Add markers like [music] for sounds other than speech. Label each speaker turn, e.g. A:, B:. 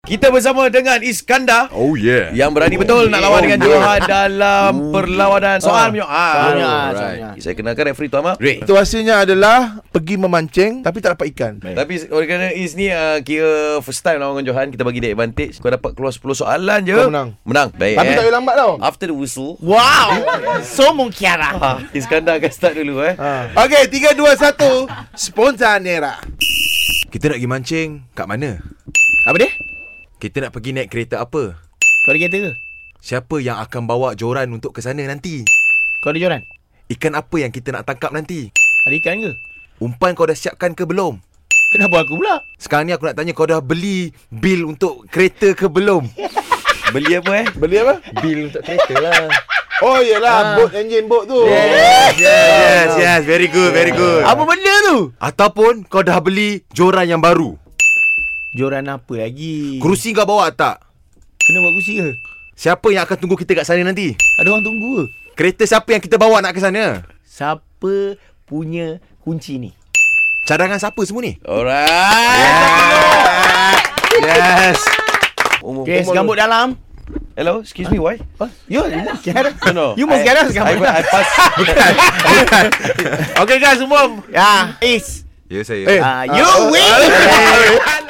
A: Kita bersama dengan Iskandar
B: Oh yeah.
C: Ya.
A: yang berani betul nak
B: Oh,
A: lawan dengan
B: yeah.
A: Johan dalam perlawanan soal menyoal.
D: Menyoal,
A: Alright.
D: soal menyoal.
A: Saya kenakan referee tu Ahmad.
B: Ray.
E: Situasinya adalah pergi memancing tapi tak dapat ikan.
A: Tapi oleh kerana Is ni uh, kira first time lawan dengan Johan kita bagi dia advantage. Kau dapat keluar 10 soalan je.
E: Kau menang.
A: Menang. Baik.
E: Tapi
A: eh.
E: tak boleh lambat tau.
A: After the whistle.
D: Wow.
A: [laughs]
D: Sombong Kiara.
A: Ha, Iskandar akan start dulu eh.
E: Ah. Okey, 3 2 1. Spontan era.
C: Kita nak pergi mancing Kat mana?
D: Apa dia?
C: Kita nak pergi naik kereta apa?
D: Kau ada kereta ke?
C: Siapa yang akan bawa joran untuk ke sana nanti?
D: Kau ada joran?
C: Ikan apa yang kita nak tangkap nanti?
D: Ada ikan ke?
C: Umpan kau dah siapkan ke belum?
D: Kenapa aku pula?
C: Sekarang ni aku nak tanya kau dah beli bil untuk kereta ke belum?
A: Beli apa eh?
E: Beli apa?
C: Bil untuk kereta lah.
E: Oh yelah, boat engine boat tu.
C: Yes, yes, yes. Very good, very good.
D: Apa benda tu?
C: Ataupun kau dah beli joran yang baru.
D: Joran apa lagi?
C: Kerusi kau bawa tak?
D: Kena buat kursi ke?
C: Siapa yang akan tunggu kita kat sana nanti?
D: Ada orang tunggu ke?
C: Kereta siapa yang kita bawa nak ke sana?
D: Siapa punya kunci ni?
C: Cadangan siapa semua ni?
A: Alright.
C: Yes.
A: Umur-
D: Kes
A: umur-
D: gambut dalam.
A: Hello, excuse me, why?
D: Yo, you must get out.
A: No, no.
D: You
A: I-
D: must get
A: I,
D: out
A: I
D: gambut dalam. [laughs]
A: pass. [laughs]
E: Okey guys semua.
D: Ya, Ah, Is.
C: Ya saya.
A: Uh,
E: Eh,
D: Ah, you win.